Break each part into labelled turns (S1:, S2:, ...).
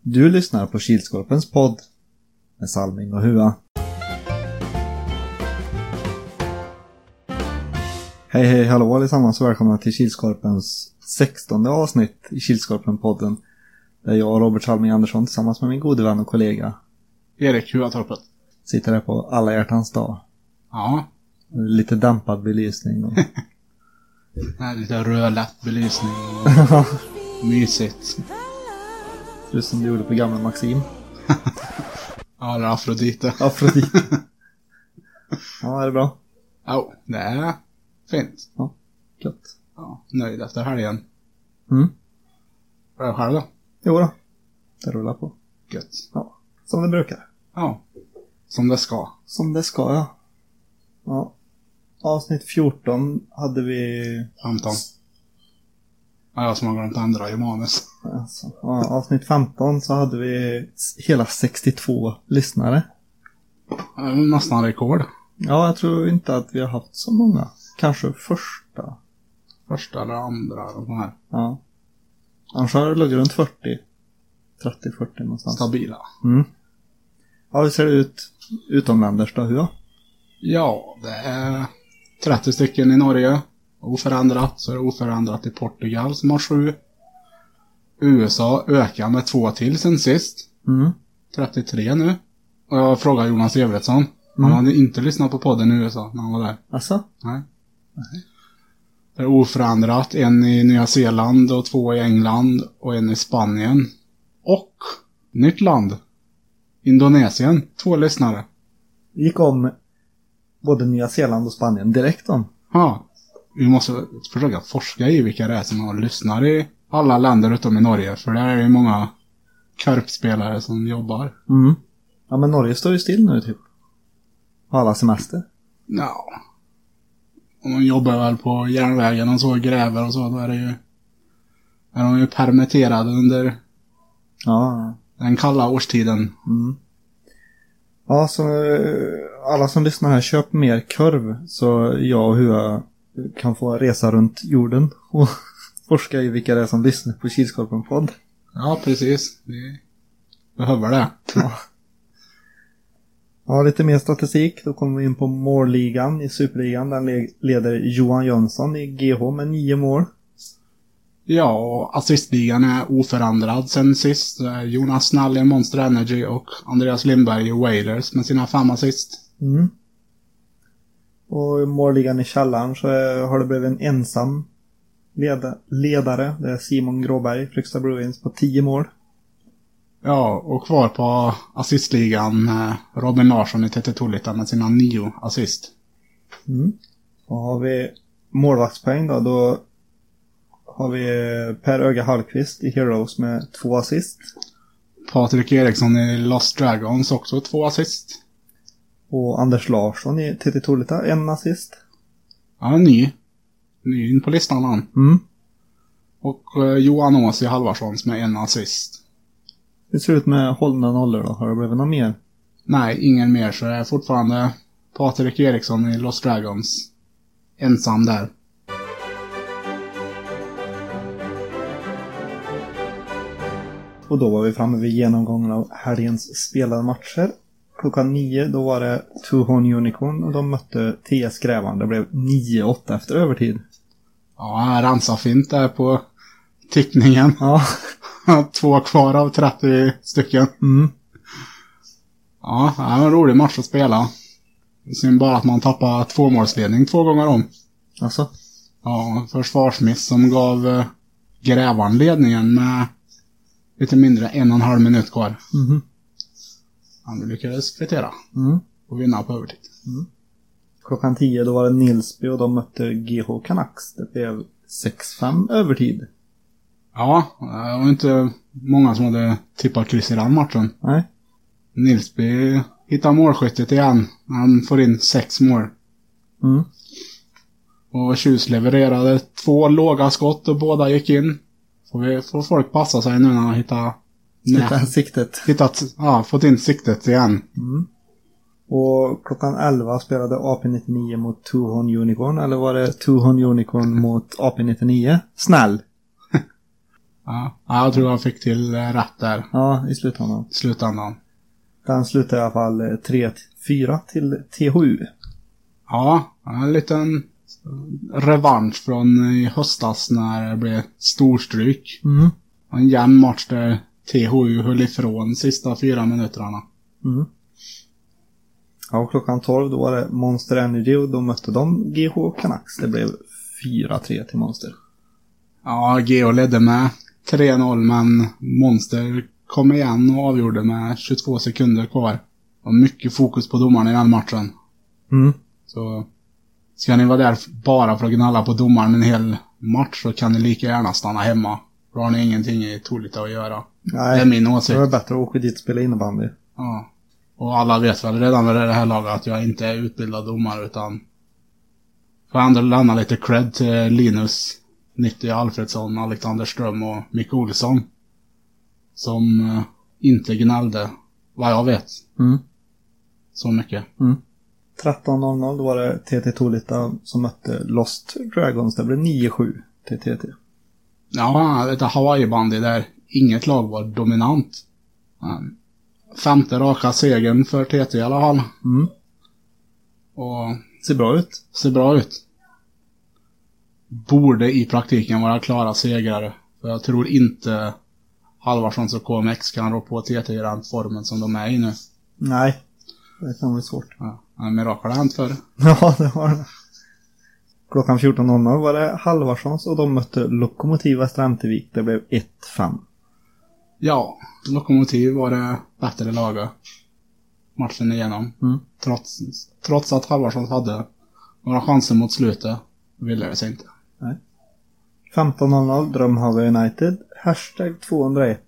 S1: Du lyssnar på Kilskorpens podd med Salming och Hua. Hej hej hallå allesammans och välkomna till Kilskorpens 16 avsnitt i Kilskorpen-podden. Där jag, Robert Salming Andersson, tillsammans med min gode vän och kollega
S2: Erik Huatorpet.
S1: sitter här på alla hjärtans dag.
S2: Ja.
S1: Lite dämpad belysning och...
S2: Den här lite rödlätt belysning och mysigt.
S1: Just som du gjorde på gamla Maxim.
S2: Ja, det är Afrodite.
S1: Afrodite. ja, är det bra?
S2: Ja, det är fint.
S1: Gött.
S2: Ja, nöjd efter helgen.
S1: Mm.
S2: Hur är det själv då?
S1: Jo då. Det rullar på.
S2: Gött.
S1: Som det brukar.
S2: Ja. Som det ska.
S1: Som det ska, ja. ja. Avsnitt 14 hade vi...
S2: 15. Ja, jag som har glömt ändra i manus.
S1: Alltså, ja, avsnitt 15 så hade vi s- hela 62 lyssnare.
S2: Det är Nästan rekord.
S1: Ja, jag tror inte att vi har haft så många. Kanske första.
S2: Första eller andra eller sån här.
S1: Ja. Annars har det legat runt 40. 30-40 någonstans.
S2: Stabila.
S1: Mm. Ja, hur ser det ut utomländers då? Hur? då?
S2: Ja, det är 30 stycken i Norge. Oförändrat så är det oförändrat i Portugal som har sju. USA ökar med två till sen sist.
S1: Mm.
S2: 33 nu. Och jag frågade Jonas Evertsson. Han
S1: Mm.
S2: hade inte lyssnat på podden i USA när han var där.
S1: Alltså?
S2: Nej. Det är oförändrat. En i Nya Zeeland och två i England och en i Spanien. Och nytt land. Indonesien. Två lyssnare.
S1: Gick om både Nya Zeeland och Spanien direkt om.
S2: Ja. Vi måste försöka forska i vilka det är som har lyssnare i alla länder utom i Norge. För där är det ju många karpspelare som jobbar.
S1: Mm. Ja, men Norge står ju still nu typ. På alla semester.
S2: Ja. Och de jobbar väl på järnvägen och så, gräver och så. Då är det ju... Är de ju permitterade under
S1: Ja.
S2: den kalla årstiden.
S1: Mm. Ja, så eh, alla som lyssnar här, köp mer korv så jag och Hua kan få resa runt jorden och forska i vilka det är som lyssnar på Kilskorpen-podd.
S2: Ja, precis. Vi behöver det.
S1: Ja, lite mer statistik. Då kommer vi in på målligan i Superligan. Den le- leder Johan Jönsson i GH med nio mål.
S2: Ja, och assistligan är oförändrad sen sist. Det är Jonas Snall i Monster Energy och Andreas Lindberg i Wailers med sina fem assist.
S1: Mm. Och i målligan i källaren så eh, har det blivit en ensam leda- ledare. Det är Simon Gråberg, Fryksta Bruins, på tio mål.
S2: Ja, och kvar på assistligan eh, Robin Larsson i TT Tolita med sina nio assist.
S1: Mm. Och har vi målvaktspoäng då, då har vi eh, Per Öga Hallqvist i Heroes med två assist.
S2: Patrik Eriksson i Lost Dragons också två assist.
S1: Och Anders Larsson i TT Tolita, en assist.
S2: Ja, ny. Ny in på listan han.
S1: Mm.
S2: Och eh, Johan Ås i Halvarssons med en assist.
S1: Hur ser det ut med hållna nollor då? Har det blivit något mer?
S2: Nej, ingen mer så det är fortfarande Patrik Eriksson i Lost Dragons. Ensam där.
S1: Och då var vi framme vid genomgången av helgens spelade matcher. Klockan nio, då var det Two Horn Unicorn och de mötte TS Grävan. Det blev 9-8 efter övertid.
S2: Ja, han rensar fint där på tickningen.
S1: Ja.
S2: Två kvar av 30 stycken.
S1: Mm.
S2: Ja, det var en rolig match att spela. Synd bara att man tappar tvåmålsledning två gånger om.
S1: Alltså.
S2: Ja, försvarsmiss som gav eh, Grävan ledningen med lite mindre än en och en halv minut kvar.
S1: Mhm.
S2: Han lyckades kvittera
S1: Mm.
S2: och vinna på övertid.
S1: Klockan tio, då var det Nilsby och de mötte GH Canucks. Det blev 6-5 övertid.
S2: Ja, det var inte många som hade tippat kryss i den matchen.
S1: Nej.
S2: Nilsby hittar målskyttet igen. Han får in sex mål.
S1: Mm.
S2: Och Tjus levererade två låga skott och båda gick in. Får, vi, får folk passa sig nu när han hittar...
S1: Utan
S2: nät.
S1: siktet.
S2: Hittat, ja, fått in siktet igen.
S1: Mm. Och klockan 11 spelade AP-99 mot Two Horn Unicorn, eller var det Two Horn Unicorn mot AP-99? Snäll!
S2: Ja. ja, jag tror jag fick till eh, rätt där
S1: Ja, i slutändan.
S2: i slutändan.
S1: Den slutar i alla fall eh, 3-4 till THU.
S2: Ja, en liten revansch från i höstas när det blev storstryk.
S1: Mm.
S2: En jämn match där THU höll ifrån sista fyra minuterna.
S1: Mm. Ja, och klockan 12 då var det Monster Energy och då mötte de GH Canucks. Det blev 4-3 till Monster.
S2: Ja, Geo ledde med 3-0 men Monster kom igen och avgjorde med 22 sekunder kvar. Och mycket fokus på domarna i den matchen.
S1: Mm.
S2: Så ska ni vara där bara för att gnälla på domaren en hel match så kan ni lika gärna stanna hemma. Då har ni ingenting i Tolita att göra. Det är
S1: Nej,
S2: min
S1: det
S2: åsikt.
S1: var bättre att åka dit och spela innebandy.
S2: Ja. Och alla vet väl redan vid det här laget att jag inte är utbildad domare utan får ändå lämna lite cred till Linus, Nitti Alfredsson, Alexander Ström och Micke Olsson. Som eh, inte gnällde, vad jag vet,
S1: Mm.
S2: så mycket.
S1: 13.00 då var det TT Tolita som mötte Lost Dragons. Det blev 9-7 till TT.
S2: Ja, ett Hawaii-bandy där inget lag var dominant. Men Femte raka segern för TT i alla fall.
S1: Mm.
S2: Och
S1: Ser bra ut.
S2: ser bra ut. Borde i praktiken vara klara segrare. För jag tror inte Halvarssons och KMX kan rå på TT i den formen som de är i nu.
S1: Nej, det kan bli svårt.
S2: Ja, men mirakel har hänt förr.
S1: Ja, det har det. Klockan 14.00 var det Halvarssons och de mötte Lokomotiv Västra Ämtervik. Det blev 1-5.
S2: Ja, Lokomotiv var det bättre laget matchen igenom.
S1: Mm.
S2: Trots, trots att Halvarsson hade några chanser mot slutet, ville det sig inte.
S1: 15.00 Drömhaga United. Hashtag 201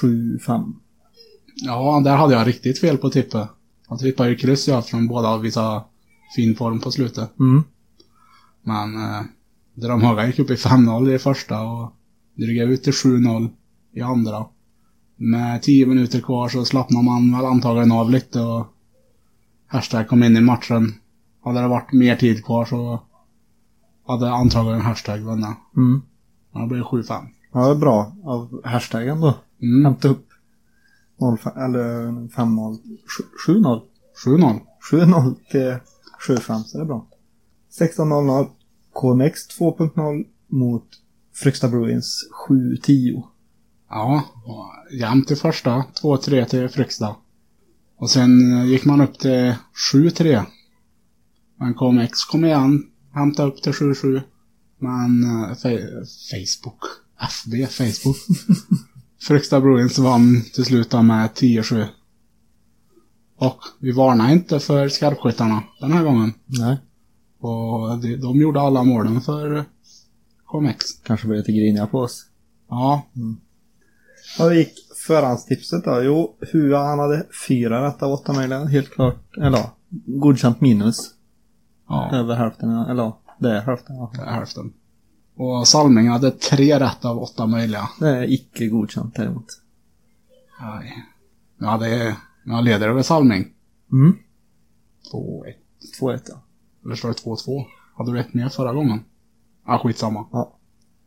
S1: 75.
S2: Ja, där hade jag riktigt fel på tippet. Jag tippade ju kryss jag från båda och visade fin form på slutet.
S1: Mm.
S2: Men eh, Drömhaga gick upp i 5-0 i första och drygade ut till 7-0 i andra. Med 10 minuter kvar så slappnar man väl antagligen av lite och Hashtag kom in i matchen. Hade det varit mer tid kvar så hade antagligen Hashtag vunnit.
S1: Mm.
S2: Men det blev 7-5.
S1: Ja, det är bra av hashtaggen då.
S2: Mm.
S1: Hämta upp 05, eller 50, 70,
S2: 7-0.
S1: 70 till 75 så det är bra. 16.00 KMX 2.0 mot Fryksta Bruins 7-10.
S2: Ja, och jämnt i första. 2-3 till Fryksta. Och sen eh, gick man upp till 7-3. Men KMX kom igen, hämtade upp till 7-7. Men eh, fe- Facebook, FB, Facebook. Fryksta Bruins vann till slut då med 10-7. Och vi varnade inte för skarpskyttarna den här gången.
S1: Nej.
S2: Och de, de gjorde alla målen för eh, KMX.
S1: Kanske blir lite griniga på oss.
S2: Ja,
S1: Vad gick förhandstipset då? Jo, Hua han hade fyra rätt av åtta möjliga. Helt klart, eller ja, godkänt minus.
S2: ja,
S1: Över hälften, ja, eller ja, det är hälften. Ja.
S2: det är hälften. Och Salming hade tre rätt av åtta möjliga.
S1: Det är icke godkänt däremot.
S2: Nej. Ja, det är... Jag leder över Salming.
S1: Mm.
S2: 2-1.
S1: 2-1 ja.
S2: Eller står det 2-2? Hade du ett mer förra gången? Ja, skitsamma.
S1: Ja.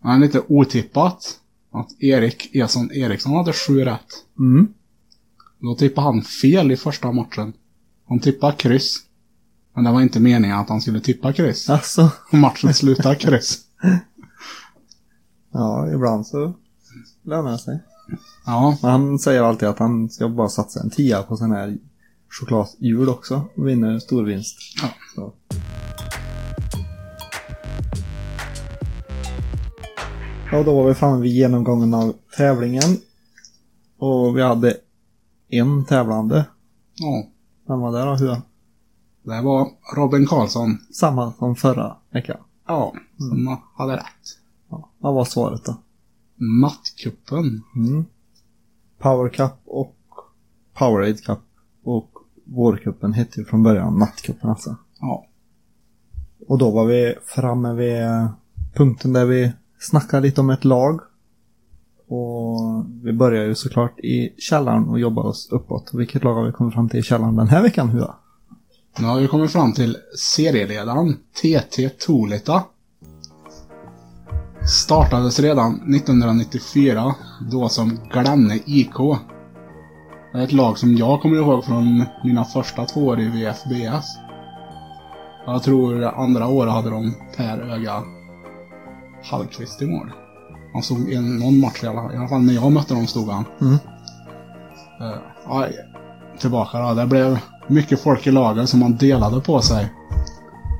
S2: Men lite otippat att Erik Eson Eriksson hade sju rätt.
S1: Mm.
S2: Då tippade han fel i första matchen. Han tippade kryss. Men det var inte meningen att han skulle tippa kryss.
S1: Alltså.
S2: Och matchen slutade kryss.
S1: Ja, ibland så lönar det sig.
S2: Ja,
S1: Men han säger alltid att han ska bara satsa en tia på sån här chokladhjul också och vinner storvinst.
S2: Ja.
S1: Så. Ja, då var vi framme vid genomgången av tävlingen. Och vi hade en tävlande.
S2: ja.
S1: Vem var det då? Hur?
S2: Det var Robin Karlsson.
S1: Samma som förra veckan.
S2: Ja, som hade rätt.
S1: Ja. Vad var svaret då?
S2: Mattkuppen.
S1: Mm. Power Cup och Powerade Cup och vårcupen hette ju från början nattcupen alltså.
S2: Ja.
S1: Och då var vi framme vid punkten där vi snackade lite om ett lag. Och vi börjar ju såklart i källaren och jobbar oss uppåt. Vilket lag har vi kommit fram till i källaren den här veckan, Hua?
S2: Nu har vi kommit fram till serieledaren TT Tolita. Startades redan 1994, då som Glenne IK. Det är ett lag som jag kommer ihåg från mina första två år i VFBS. Jag tror andra året hade de Per Öga Hallqvist i mål. Han såg en, någon match i alla fall. I alla fall när jag mötte dem stod han.
S1: Mm.
S2: Eh, ja, tillbaka då. Det blev mycket folk i laget som man delade på sig.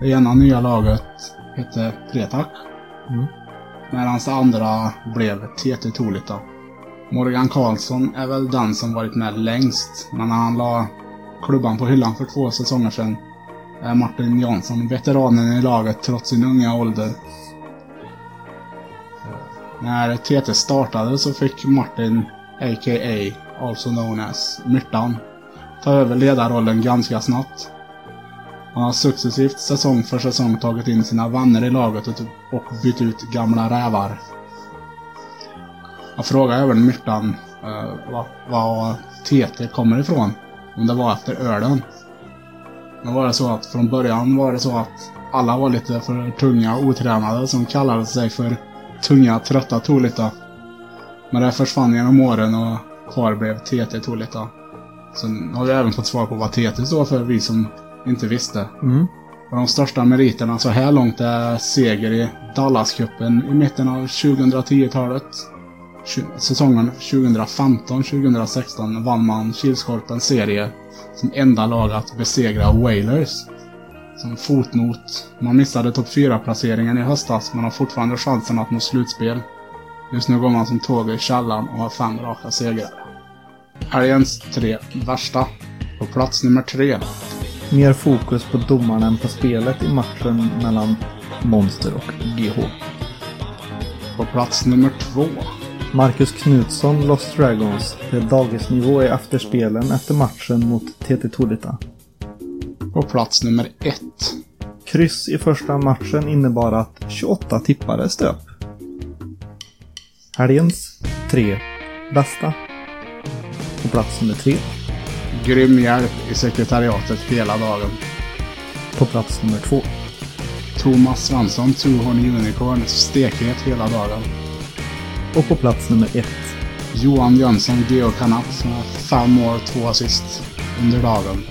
S2: Det ena nya laget hette Pretak.
S1: Mm.
S2: Medan det andra blev TT Tolita. Morgan Karlsson är väl den som varit med längst. Men när han la klubban på hyllan för två säsonger sedan är Martin Jansson veteranen i laget trots sin unga ålder. När TT startade så fick Martin, a.k.a. also known as Myrtan, ta över ledarrollen ganska snabbt. Han har successivt säsong för säsong tagit in sina vänner i laget och typ- och bytt ut gamla rävar. Jag frågade även Myrtan eh, var, var TT kommer ifrån. Om det var efter ölen. Men var det så att från början var det så att alla var lite för tunga och otränade som kallade sig för tunga trötta Tolita. Men det försvann genom åren och kvar blev TT Tolita. Sen har vi även fått svar på vad TT står för, vi som inte visste.
S1: Mm.
S2: Och de största meriterna så här långt är seger i Dallascupen i mitten av 2010-talet. Tju- Säsongen 2015-2016 vann man Kilskorpens serie som enda lag att besegra Wailers. Som fotnot, man missade topp 4-placeringen i höstas men har fortfarande chansen att nå slutspel. Just nu går man som tåg i källan och har fem raka segrar. Helgens tre värsta. På plats nummer tre
S1: Mer fokus på domarna än på spelet i matchen mellan Monster och GH.
S2: På plats nummer två.
S1: Marcus Knutsson, Lost Dragons, till dagisnivå i efterspelen efter matchen mot TT Tolita.
S2: På plats nummer ett.
S1: Kryss i första matchen innebar att 28 tippare stöp. Helgens tre bästa. På plats nummer tre.
S2: Grym hjälp i sekretariatet hela dagen.
S1: På plats nummer två.
S2: Thomas Svensson, Tuhorn Unicorn, stekhet hela dagen.
S1: Och på plats nummer ett.
S2: Johan Jönsson, Geo Kanat, med fem mål, två assist under dagen.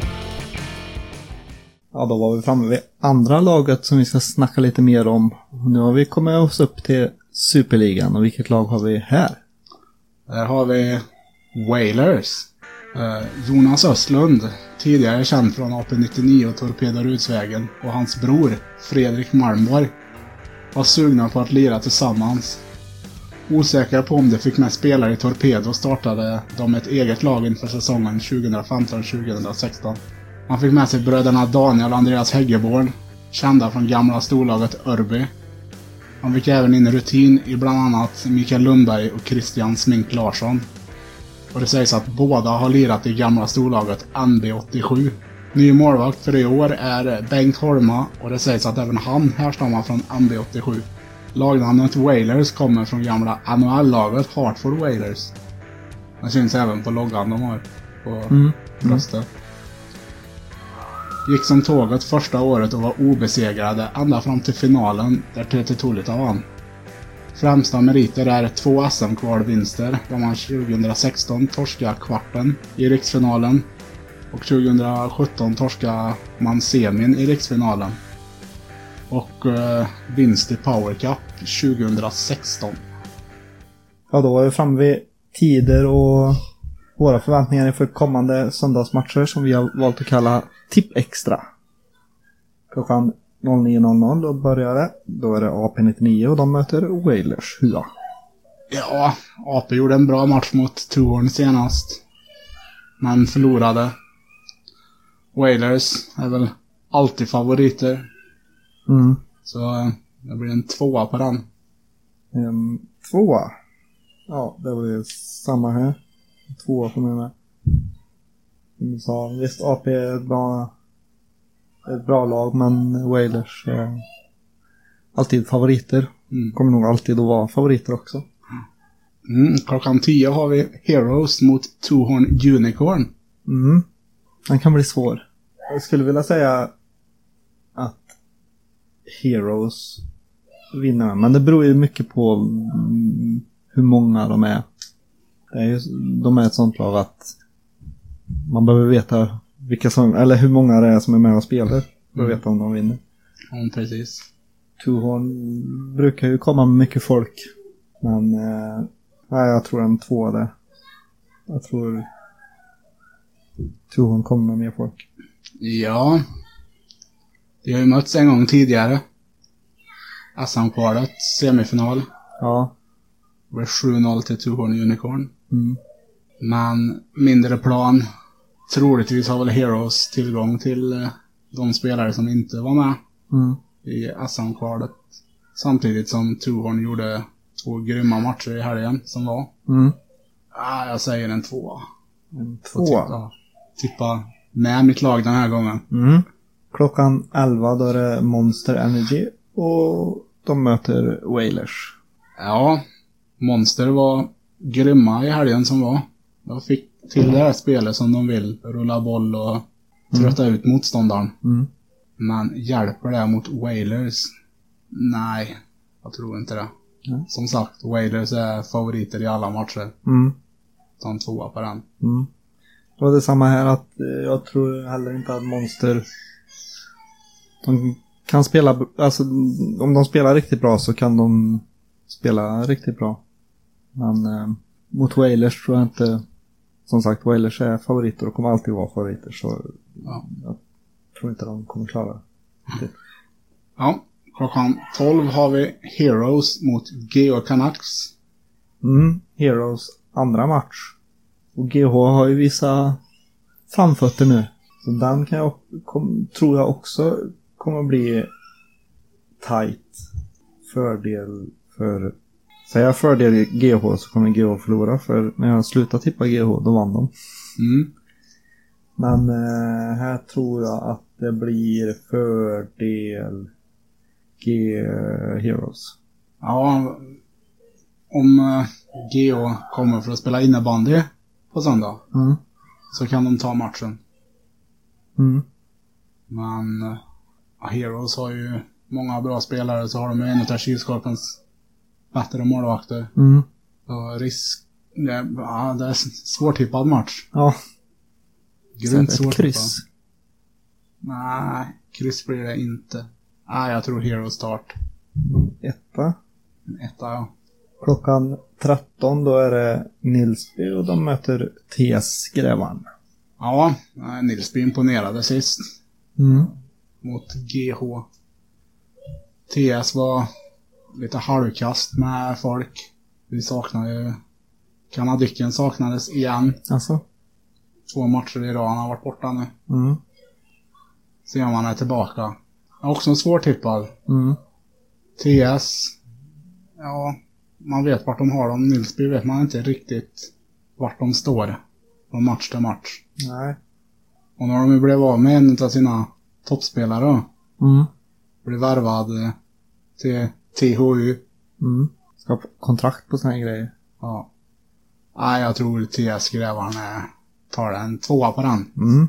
S1: Ja, då var vi framme vid andra laget som vi ska snacka lite mer om. Nu har vi kommit oss upp till Superligan och vilket lag har vi här?
S2: Där har vi Wailers. Eh, Jonas Östlund, tidigare känd från AP-99 och Torpedo Rudsvägen, och hans bror Fredrik Malmborg var sugna på att lira tillsammans. Osäkra på om de fick med spelare i Torpedo startade de ett eget lag inför säsongen 2015-2016. Man fick med sig bröderna Daniel och Andreas Häggeborn, kända från gamla storlaget Örby, han fick även in rutin i bland annat Mikael Lundberg och Christian Smink Larsson. Och det sägs att båda har lirat i gamla storlaget NB87. Ny målvakt för i år är Bengt Holma och det sägs att även han härstammar från NB87. Lagnamnet Wailers kommer från gamla NHL-laget Hartford Wailers. Det syns även på loggan de har på
S1: Mm.
S2: bröstet. Gick som tåget första året och var obesegrade ända fram till finalen där TT Tolita vann. Främsta meriter är två SM-kvalvinster där man 2016 torska kvarten i riksfinalen och 2017 torska man semin i riksfinalen. Och eh, vinst i Power Cup 2016.
S1: Ja, då var vi framme vid tider och våra förväntningar inför kommande söndagsmatcher som vi har valt att kalla Tipp Extra. Klockan 09.00 då börjar det. Då är det AP99 och de möter Wailers Hua.
S2: Ja, AP gjorde en bra match mot Torn senast. Men förlorade. Wailers är väl alltid favoriter.
S1: Mm.
S2: Så eh, det blir en tvåa på den.
S1: Ehm, tvåa. Ja, det var ju samma här. Tvåa på mig med. Som du sa, visst AP är ett bra, ett bra lag men Wailers eh, alltid favoriter.
S2: Mm.
S1: Kommer nog alltid att vara favoriter också.
S2: Mm, klockan 10 har vi Heroes mot Torn Unicorn.
S1: Mm. Den kan bli svår. Jag skulle vilja säga att Heroes vinnarna. Men det beror ju mycket på mm, hur många de är. Det är ju, de är ett sånt lag att man behöver veta vilka som, eller hur många det är som är med och spelar. För att veta om de vinner.
S2: Ja, precis.
S1: Tuhorn brukar ju komma med mycket folk. Men eh, nej, jag tror en två där. Jag tror Tuhorn kommer med mer folk.
S2: Ja. Vi har ju mötts en gång tidigare. Assam-kvalet, semifinal.
S1: Ja.
S2: Det blev 7-0 till Two Horn Unicorn.
S1: Mm.
S2: Men mindre plan. Troligtvis har väl Heroes tillgång till eh, de spelare som inte var med
S1: Mm.
S2: i Assam-kvalet. Samtidigt som Two Horn gjorde två grymma matcher i helgen som var.
S1: Mm.
S2: Ah, jag säger en tvåa.
S1: En
S2: Får tippa- Tippa med mitt lag den här gången.
S1: Mm. Klockan 11 då är det Monster Energy och de möter Wailers.
S2: Ja, Monster var grymma i helgen som var. De fick till det här spelet som de vill. Rulla boll och trötta ut motståndaren.
S1: Mm.
S2: Men hjälper det mot Wailers? Nej, jag tror inte det.
S1: Nej.
S2: Som sagt, Wailers är favoriter i alla matcher.
S1: Mm.
S2: De tvåa på den.
S1: Mm. Det var detsamma här att eh, jag tror heller inte att Monster... De kan spela, b- alltså om de spelar riktigt bra så kan de spela riktigt bra. Men eh, mot Wailers tror jag inte... Som sagt, Wailers är favoriter och kommer alltid vara favoriter så
S2: Ja.
S1: jag tror inte de kommer klara det.
S2: ja, klockan 12 har vi Heroes mot Geo Canucks.
S1: Mm, Heroes andra match. Och GH har ju vissa framfötter nu. Så den kan jag, kom, tror jag också kommer bli tight. Fördel för... Säger jag fördel GH så kommer GH förlora för när jag slutade tippa GH då vann de.
S2: Mm.
S1: Men eh, här tror jag att det blir fördel G eh, Heroes.
S2: Ja, om eh, Geo kommer för att spela innebandy på söndag
S1: Mm.
S2: så kan de ta matchen.
S1: Mm.
S2: Men eh, Heroes har ju många bra spelare så har de ju en utav Kilskorpens bättre målvakter.
S1: Mm.
S2: Så risk... det- Ja, det är s- svårtippad match.
S1: Ja.
S2: Grymt
S1: Sätt ett
S2: svårtippad.
S1: kryss.
S2: Nej, kryss blir det inte. Nej, jag tror Heroes start.
S1: Etta.
S2: En etta, ja.
S1: Klockan 13 då är det Nilsby och de möter TS Grävan.
S2: Ja, nej, Nilsby imponerade sist.
S1: Mm.
S2: mot GH. TS var lite halvkast med folk. Vi saknade ju... Kanadicken saknades igen.
S1: Alltså?
S2: Två matcher i rad han har varit borta nu.
S1: Mm.
S2: Se om han är tillbaka. Jag är också svårtippad.
S1: Mm.
S2: TS. Ja, man vet vart de har dem. Nilsby vet man inte riktigt vart de står. Från match till match.
S1: Nej.
S2: Och när de ju blev av med en av sina toppspelare då,
S1: Mm.
S2: Blev värvad eh, till THU.
S1: Mm. Ska ha kontrakt på såna här grejer.
S2: Ja. Nej, jag tror TS Grävaren eh, tar en tvåa på den.
S1: Mm.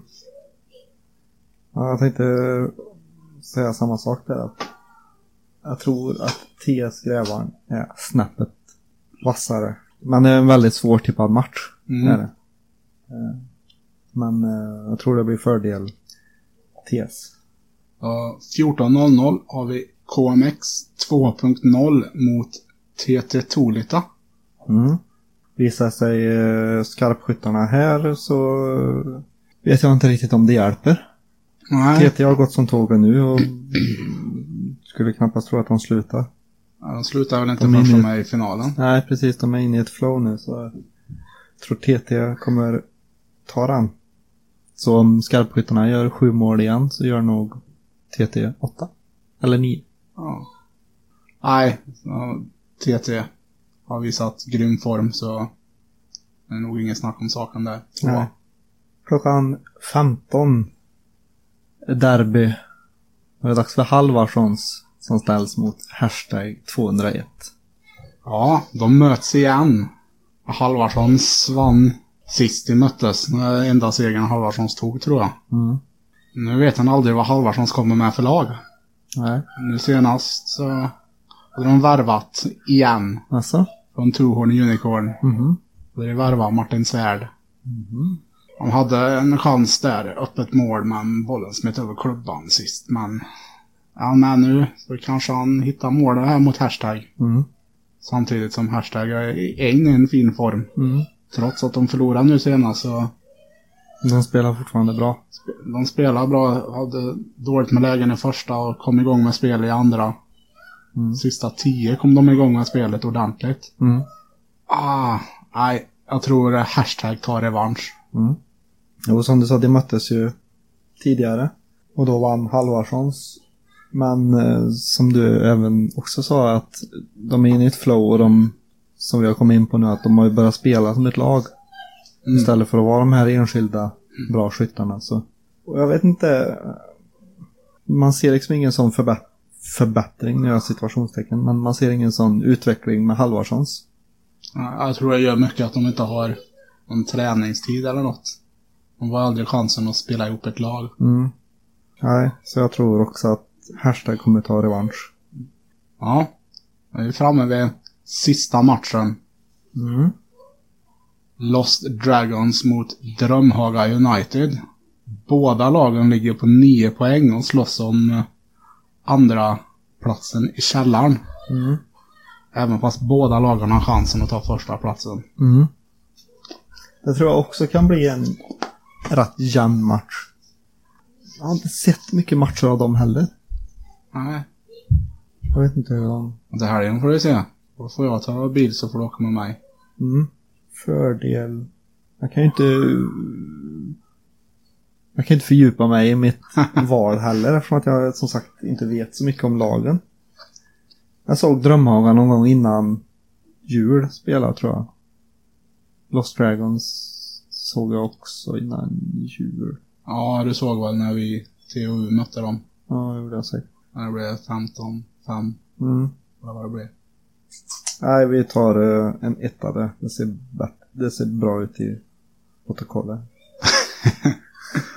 S1: Ja, jag tänkte säga samma sak där. att Jag tror att TS Grävan är snäppet vassare. Men det är en väldigt svårtippad match.
S2: Mm.
S1: Är det. Eh, Men eh, jag tror det blir fördel TS.
S2: Och 14.00 har vi KMX 2.0 mot TT Tolita.
S1: Mm. Visar sig eh, skarpskyttarna här så eh, vet jag inte riktigt om det hjälper.
S2: Nej,
S1: TT har gått som tågen nu och skulle knappast tro att de slutar.
S2: de slutar väl inte
S1: De är
S2: förrän
S1: nu-
S2: de är i finalen.
S1: Nej, precis. De är inne i ett flow nu så jag tror TT kommer ta den. Så om skarpskyttarna gör sju mål igen så gör nog TT åtta. Eller nio.
S2: Ja. Nej, så TT har visat grym form så det är nog ingen snack om saken där. Tvåa.
S1: Nej. Klockan 15. är Derby. Och det är dags för Halvarssons som ställs mot hashtag 201.
S2: Ja, de möts igen. Halvarsson svann sist de möttes. Det är enda segern Halvarssons tog tror jag.
S1: Mm.
S2: Nu vet han aldrig vad Halvarssons kommer med för lag.
S1: Nej.
S2: Nu senast så Och då har de varvat igen.
S1: Alltså?
S2: Från Tuhorn Unicorn.
S1: Mhm.
S2: Och det varvade Martin Svärd. De hade en chans där, öppet mål, men bollen smet över klubban sist. Men är han med nu så kanske han hittar målet här mot Hashtag.
S1: Mm.
S2: Samtidigt som Hashtag är är inne i en fin form.
S1: Mm.
S2: Trots att de förlorade nu senast så
S1: De spelar fortfarande bra.
S2: de spelade bra, hade dåligt med lägen i första och kom igång med spel i andra.
S1: Mm.
S2: Sista tio kom de igång med spelet ordentligt.
S1: Mm.
S2: Ah, nej, jag tror Hashtag tar revansch.
S1: Mm. Jo, som du sa, de möttes ju tidigare. Och då vann Halvarssons. Men eh, som du även också sa att de är inne i ett flow och de, som vi har kommit in på nu, att de har ju börjat spela som ett lag.
S2: Mm.
S1: Istället för att vara de här enskilda bra skyttarna. Så. Och jag vet inte. Man ser liksom ingen sån förbä- förbättring, nu gör jag situationstecken, men man ser ingen sån utveckling med Halvarssons.
S2: Ja, Jag tror det gör mycket att de inte har någon träningstid eller något. De har aldrig chansen att spela ihop ett lag.
S1: Mm. Nej, så jag tror också att Hashtag kommer ta revansch.
S2: Ja, nu är vi framme vid sista matchen.
S1: Mm.
S2: Lost Dragons mot Drömhaga United. Båda lagen ligger på nio poäng och slåss om eh, andra platsen i källaren.
S1: Mm.
S2: Även fast båda lagen har chansen att ta första platsen.
S1: Mm. Det tror jag också kan bli en rätt jämn match. Jag har inte sett mycket matcher av dem heller.
S2: Nej,
S1: Jag vet inte hur de...
S2: och det här igen får du se. Då får jag ta bil så får du åka med mig.
S1: Mm. Fördel... Jag kan ju inte... Jag kan ju inte fördjupa mig i mitt val heller eftersom att jag som sagt inte vet så mycket om lagen. Jag såg Drömhaga någon gång innan jul spela tror jag. Lost Dragons såg jag också innan jul.
S2: Ja, du såg väl när vi TU mötte dem.
S1: Ja, det gjorde jag säkert.
S2: När det blev 15, 5,
S1: Mm.
S2: eller vad det blev.
S1: Nej, vi tar eh, en etta där. Det ser, bätt- det ser bra ut i protokollet.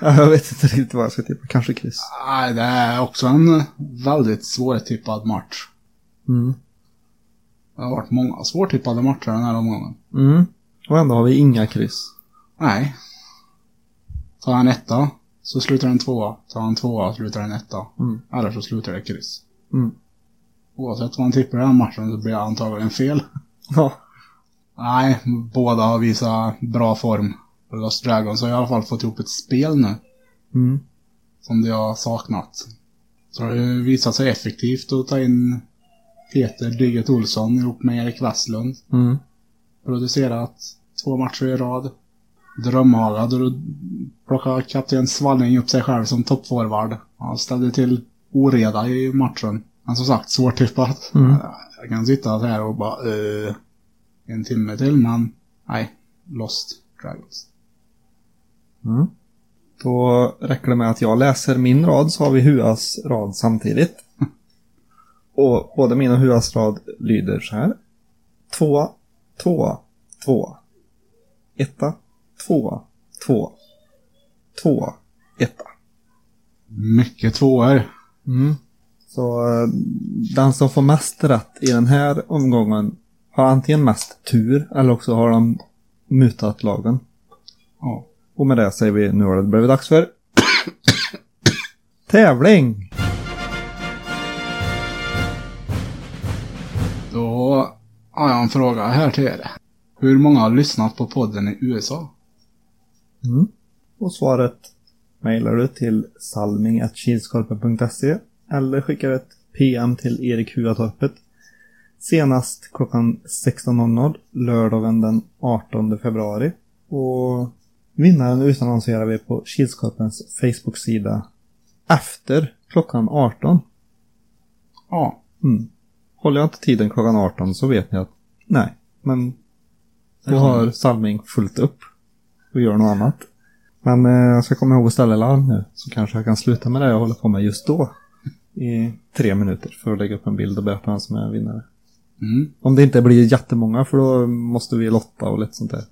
S1: Ja, jag vet inte riktigt vad jag ska tippa. Kanske kryss.
S2: Nej, det är också en väldigt svårtippad match.
S1: Mm.
S2: Det har varit många svårtippade matcher den här omgången.
S1: Mm. Och ändå har vi inga kryss.
S2: Nej. Tar han etta, så slutar den tvåa. Tar han tvåa, slutar den etta.
S1: Mm.
S2: Eller så slutar det kryss.
S1: Mm.
S2: Oavsett vad man tippar i den här matchen så blir det antagligen fel.
S1: Ja.
S2: Nej, båda har visat bra form. Lost Dragons har i alla fall fått ihop ett spel nu.
S1: Mm.
S2: som det har saknat. Så det har ju visat sig effektivt att ta in Peter Dyget Olsson ihop med Erik Westlund.
S1: Mm.
S2: Producerat två matcher i rad. Drömhaga, då plockade kapten Svalling upp sig själv som toppforward. Han ställde till oreda i matchen. Men som sagt, svårtippat.
S1: Mm.
S2: Jag kan sitta så här och bara eh, en timme till, men nej. Lost Dragons.
S1: Mm. Då räcker det med att jag läser min rad så har vi Huas rad samtidigt. Och både min och Huas rad lyder så här. Tvåa, tvåa, tvåa. Etta, tvåa, tvåa. Tvåa, etta.
S2: Mycket tvåor.
S1: Mm. Så eh, den som får mest rätt i den här omgången har antingen mest tur eller också har de mutat lagen.
S2: Ja.
S1: Och med det säger vi nu har det blivit dags för tävling!
S2: Då har jag en fråga här till er. Hur många har lyssnat på podden i USA?
S1: Mm. Och svaret mejlar du till salming.kilskorpen.se eller skickar ett PM till Erik Huatorpet senast klockan 16.00 lördagen den 18 februari. Och vinnaren utannonserar vi på Kilskorpens Facebook-sida efter klockan 18.
S2: Ja.
S1: Mm. Håller jag inte tiden klockan 18 så vet ni att nej, men då
S2: Det
S1: har Salming fullt upp och gör något annat. Men eh, jag ska komma ihåg att ställa larm nu så kanske jag kan sluta med det jag håller på med just då. I tre minuter för att lägga upp en bild och berätta vem som är vinnare.
S2: Mm.
S1: Om det inte blir jättemånga för då måste vi lotta och lite sånt där.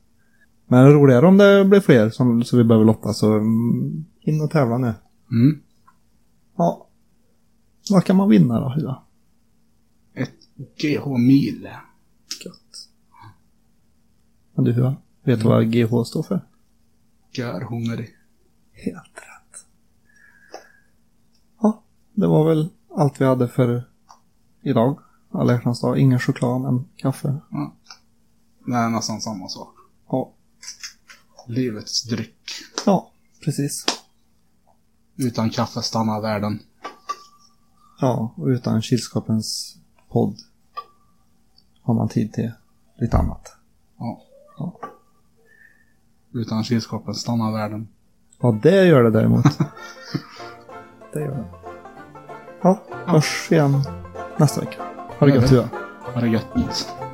S1: Men det roligare om det blir fler som, så vi behöver lotta så mm, in och tävla nu.
S2: Mm.
S1: Ja. Vad kan man vinna då? Hua?
S2: Ett GH Mil.
S1: Gött. Men du, ja, vet du vad GH står för?
S2: Gör hungrig.
S1: Helt rätt. Ja, det var väl allt vi hade för idag. Alla hjärtans dag. Ingen choklad, men kaffe.
S2: Det är nästan samma sak.
S1: Ja,
S2: Livets dryck.
S1: ja precis.
S2: Utan kaffe stannar världen.
S1: Ja, och utan kylskåpens podd har man tid till lite annat.
S2: Ja.
S1: Ja.
S2: Utan kylskåpen stannar världen.
S1: Ja, det gör det däremot. det gör det. Ja, hörs igen nästa vecka. Ha det
S2: Gör
S1: gött,
S2: det.
S1: Tua.
S2: Ha det gött.